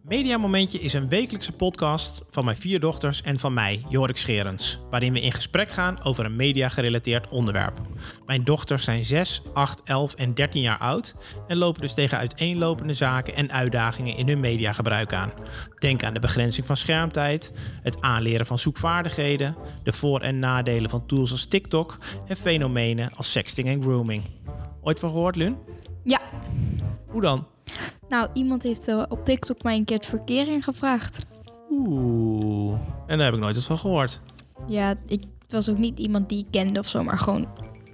Mediamomentje is een wekelijkse podcast van mijn vier dochters en van mij, Jorik Scherens, waarin we in gesprek gaan over een media-gerelateerd onderwerp. Mijn dochters zijn 6, 8, 11 en 13 jaar oud en lopen dus tegen uiteenlopende zaken en uitdagingen in hun mediagebruik aan. Denk aan de begrenzing van schermtijd, het aanleren van zoekvaardigheden, de voor- en nadelen van tools als TikTok en fenomenen als sexting en grooming. Ooit van gehoord, Lun? Ja, Hoe dan? nou iemand heeft eh, op TikTok mij een keer het verkeer ingevraagd. Oeh, en daar heb ik nooit iets van gehoord. Ja, ik het was ook niet iemand die ik kende of zo, maar gewoon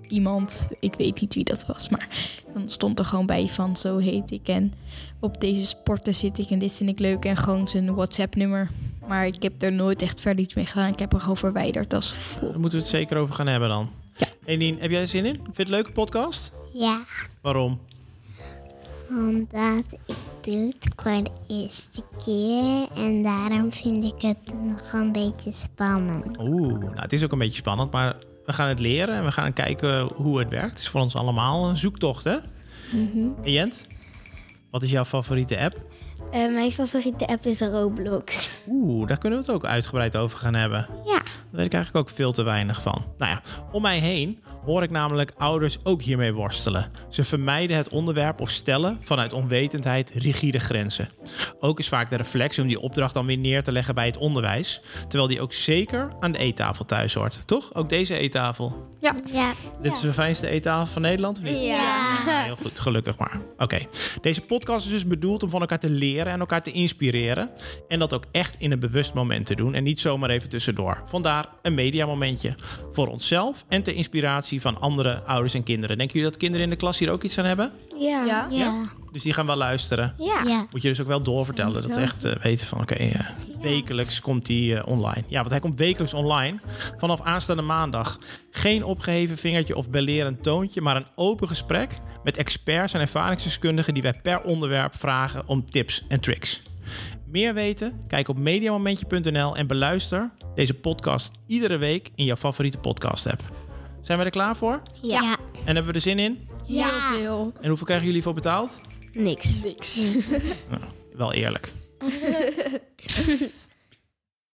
iemand. Ik weet niet wie dat was, maar dan stond er gewoon bij van zo heet ik en op deze sporten zit ik en dit vind ik leuk en gewoon zijn WhatsApp-nummer. Maar ik heb er nooit echt verder iets mee gedaan. Ik heb er gewoon verwijderd als vol. Daar moeten we het zeker over gaan hebben dan. Ja. Eline, heb jij er zin in? Vind je het een leuke podcast? Ja, Waarom? omdat ik doe het voor de eerste keer en daarom vind ik het nog een beetje spannend. Oeh, nou, het is ook een beetje spannend, maar we gaan het leren en we gaan kijken hoe het werkt. Het is voor ons allemaal een zoektocht, hè? En Jent, wat is jouw favoriete app? Eh, mijn favoriete app is Roblox. Oeh, daar kunnen we het ook uitgebreid over gaan hebben. Ja. Daar weet ik eigenlijk ook veel te weinig van. Nou ja, om mij heen hoor ik namelijk ouders ook hiermee worstelen. Ze vermijden het onderwerp of stellen vanuit onwetendheid rigide grenzen. Ook is vaak de reflex om die opdracht dan weer neer te leggen bij het onderwijs. Terwijl die ook zeker aan de eettafel thuis hoort. Toch? Ook deze eettafel. Ja, Ja. Dit is de fijnste eettafel van Nederland? of niet? Ja, heel goed, gelukkig maar. Oké, deze podcast is dus bedoeld om van elkaar te leren en elkaar te inspireren. En dat ook echt in een bewust moment te doen en niet zomaar even tussendoor. Vandaar een mediamomentje voor onszelf en ter inspiratie van andere ouders en kinderen. Denken jullie dat kinderen in de klas hier ook iets aan hebben? Ja. Ja. Ja. Dus die gaan wel luisteren. Ja. Ja. Moet je dus ook wel doorvertellen. Dat ze echt eh, weten van, oké, eh, wekelijks komt die eh, online. Ja, want hij komt wekelijks online. Vanaf aanstaande maandag. Geen opgeheven vingertje of belerend toontje, maar een open gesprek met experts en ervaringsdeskundigen die wij per onderwerp vragen om tips en tricks. Meer weten? Kijk op mediamomentje.nl en beluister deze podcast iedere week in jouw favoriete podcast app. Zijn we er klaar voor? Ja. En hebben we er zin in? heel veel. En hoeveel krijgen jullie voor betaald? Niks. Wel eerlijk.